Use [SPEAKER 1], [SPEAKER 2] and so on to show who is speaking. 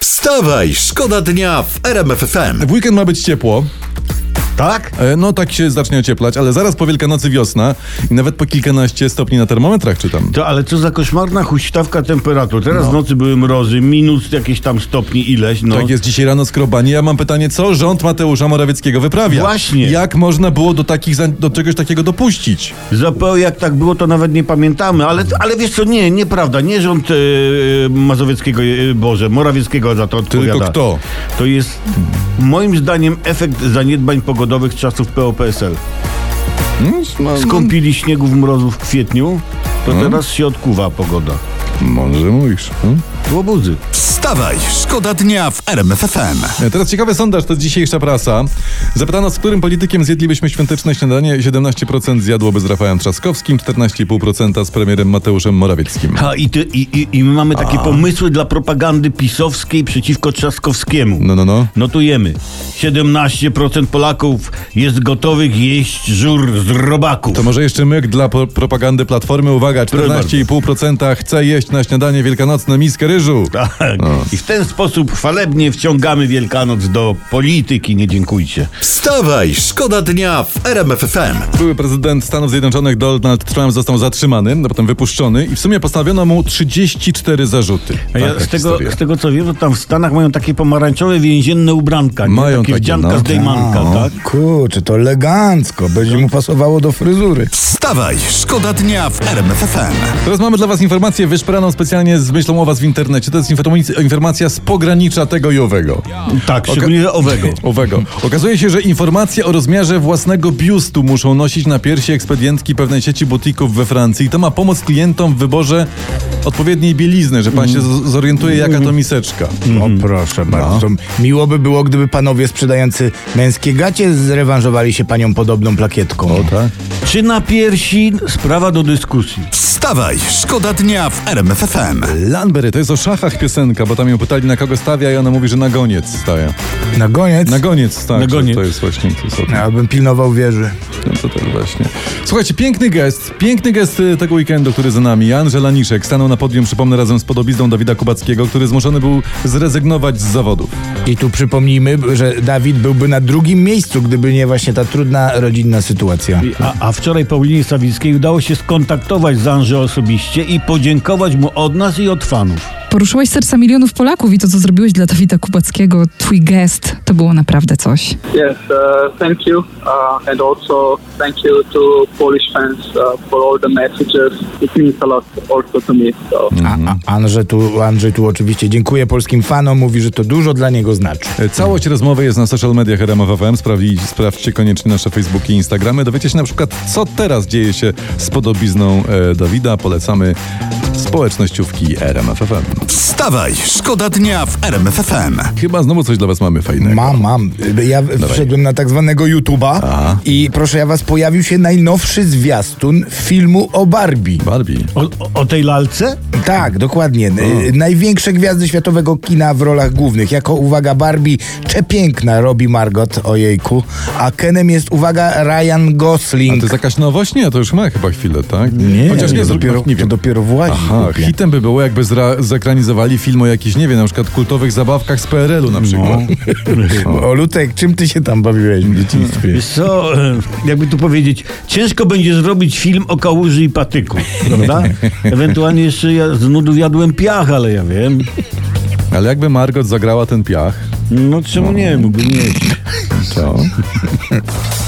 [SPEAKER 1] Wstawaj, szkoda dnia w RMF FM.
[SPEAKER 2] W weekend ma być ciepło.
[SPEAKER 1] Tak?
[SPEAKER 2] E, No tak się zacznie ocieplać, ale zaraz po Wielkanocy wiosna i nawet po kilkanaście stopni na termometrach czytam.
[SPEAKER 3] To, ale co za koszmarna huśtawka temperatur. Teraz w nocy były mrozy, minus jakieś tam stopni ileś. No.
[SPEAKER 2] Tak jest dzisiaj rano skrobanie. Ja mam pytanie, co rząd Mateusza Morawieckiego wyprawia?
[SPEAKER 3] Właśnie.
[SPEAKER 2] Jak można było do, takich, za- do czegoś takiego dopuścić?
[SPEAKER 3] Zapał jak tak było, to nawet nie pamiętamy. Ale, ale wiesz co, nie, nieprawda. Nie rząd e, Mazowieckiego, e, Boże, Morawieckiego za to odpowiada.
[SPEAKER 2] kto?
[SPEAKER 3] To jest moim zdaniem efekt zaniedbań pogodowych czasów POPSL.
[SPEAKER 2] Hmm? No,
[SPEAKER 3] Skąpili śniegów mrozów w kwietniu, to teraz się odkuwa pogoda.
[SPEAKER 2] Może mówisz. Hmm?
[SPEAKER 3] Łobuzy.
[SPEAKER 1] Wstawaj, szkoda dnia w RMF FM.
[SPEAKER 2] E, Teraz ciekawy sondaż, to jest dzisiejsza prasa. Zapytano, z którym politykiem zjedlibyśmy świąteczne śniadanie. 17% zjadłoby z Rafałem Trzaskowskim, 14,5% z premierem Mateuszem Morawieckim.
[SPEAKER 3] Ha, i, ty, i, i, I my mamy takie pomysły dla propagandy pisowskiej przeciwko Trzaskowskiemu.
[SPEAKER 2] No, no, no.
[SPEAKER 3] Notujemy, 17% Polaków jest gotowych jeść żur z robaków.
[SPEAKER 2] To może jeszcze myk dla po- propagandy Platformy. Uwaga, 14,5% chce jeść na śniadanie wielkanocne miskę ryżu.
[SPEAKER 3] Tak. I w ten sposób chwalebnie wciągamy Wielkanoc do polityki, nie dziękujcie.
[SPEAKER 1] Wstawaj, szkoda dnia w RMF FM.
[SPEAKER 2] Były prezydent Stanów Zjednoczonych Donald Trump został zatrzymany, a potem wypuszczony i w sumie postawiono mu 34 zarzuty.
[SPEAKER 3] A ja
[SPEAKER 2] Taka
[SPEAKER 3] z, tego,
[SPEAKER 2] historia.
[SPEAKER 3] z tego co wiem, to tam w Stanach mają takie pomarańczowe więzienne ubranka. Nie?
[SPEAKER 2] Mają
[SPEAKER 3] takie
[SPEAKER 2] takie,
[SPEAKER 3] wdzianka
[SPEAKER 2] no.
[SPEAKER 3] z Dejmanka,
[SPEAKER 4] O,
[SPEAKER 3] tak?
[SPEAKER 4] Kurczę, to elegancko. Będzie mu pasowało do fryzury.
[SPEAKER 1] Wstawaj, szkoda dnia w RMF FM.
[SPEAKER 2] Teraz mamy dla was informację wyszperaną specjalnie z myślą o was w internecie. To jest informac- informacja z pogranicza tego i owego.
[SPEAKER 3] Tak, szczególnie że owego.
[SPEAKER 2] Owego. Okazuje się, że informacje o rozmiarze własnego biustu muszą nosić na piersi ekspedientki pewnej sieci butików we Francji. I to ma pomóc klientom w wyborze odpowiedniej bielizny, że pan się
[SPEAKER 3] Mm.
[SPEAKER 2] z- zorientuje, jaka to miseczka.
[SPEAKER 4] O proszę bardzo. Miło by było, gdyby panowie sprzedający męskie gacie zrewanżowali się panią podobną plakietką. O tak.
[SPEAKER 3] Czy na piersi? Sprawa do dyskusji.
[SPEAKER 1] Wstawaj, szkoda dnia w RMF FM.
[SPEAKER 2] Lanbery, to jest o szachach piosenka, bo tam ją pytali na kogo stawia i ona mówi, że na goniec stawia.
[SPEAKER 4] Na koniec.
[SPEAKER 2] Na goniec, tak.
[SPEAKER 3] Na
[SPEAKER 2] że
[SPEAKER 3] goniec.
[SPEAKER 2] To jest właśnie to jest o tym.
[SPEAKER 4] Ja bym pilnował wieży.
[SPEAKER 2] No to tak właśnie. Słuchajcie, piękny gest, piękny gest y, tego weekendu, który za nami. Jan Żelaniszek stanął na podium, przypomnę, razem z podobizną Dawida Kubackiego, który zmuszony był zrezygnować z zawodów.
[SPEAKER 4] I tu przypomnijmy, że Dawid byłby na drugim miejscu, gdyby nie właśnie ta trudna rodzinna sytuacja.
[SPEAKER 3] A, a wczoraj Paulinie Sawickiej udało się skontaktować z Anżę osobiście i podziękować mu od nas i od fanów.
[SPEAKER 5] Poruszyłeś serca milionów Polaków i to, co zrobiłeś dla Dawida Kubackiego, twój gest, to było naprawdę coś.
[SPEAKER 6] Yes, uh, thank you. Uh, and also thank you to Polish fans uh, for all the messages. It means a lot also to me. So.
[SPEAKER 4] A, a Andrzej, tu, Andrzej tu oczywiście dziękuję polskim fanom, mówi, że to dużo dla niego znaczy.
[SPEAKER 2] E, Całość rozmowy jest na social mediach RMFFM. Sprawdźcie koniecznie nasze Facebooki i Instagramy. Dowiecie się na przykład, co teraz dzieje się z podobizną e, Dawida. Polecamy społecznościówki RMFFM.
[SPEAKER 1] Wstawaj, szkoda dnia w RMF FM.
[SPEAKER 2] Chyba znowu coś dla was mamy fajnego.
[SPEAKER 4] Mam, mam. Ja wszedłem na tak zwanego YouTube'a i proszę ja was, pojawił się najnowszy zwiastun filmu o Barbie.
[SPEAKER 2] Barbie.
[SPEAKER 3] O, o- o tej lalce?
[SPEAKER 4] Tak, dokładnie. Y, Największe gwiazdy światowego kina w rolach głównych. Jako, uwaga, Barbie przepiękna robi Margot, ojejku. A Kenem jest, uwaga, Ryan
[SPEAKER 2] A to
[SPEAKER 4] Gosling.
[SPEAKER 2] jest jakaś nowość? Nie, to już ma chyba chwilę, tak? Chociaż nie,
[SPEAKER 4] to
[SPEAKER 2] zrób- no,
[SPEAKER 4] dopiero,
[SPEAKER 2] nie
[SPEAKER 4] to
[SPEAKER 2] wiem.
[SPEAKER 4] dopiero właśnie.
[SPEAKER 2] Aha, hitem by było, jakby zra- zekranizowali film o jakichś, nie wiem, na przykład kultowych zabawkach z PRL-u na przykład.
[SPEAKER 4] O, Lutek, czym ty się tam bawiłeś w dzieciństwie?
[SPEAKER 3] Wiesz co, e, jakby tu powiedzieć, ciężko będzie zrobić film o kałuży i patyku, prawda? Ewentualnie jeszcze ja z nudów jadłem piach, ale ja wiem.
[SPEAKER 2] Ale jakby Margot zagrała ten piach,
[SPEAKER 3] No czemu nie, mógłbym mieć.
[SPEAKER 2] to...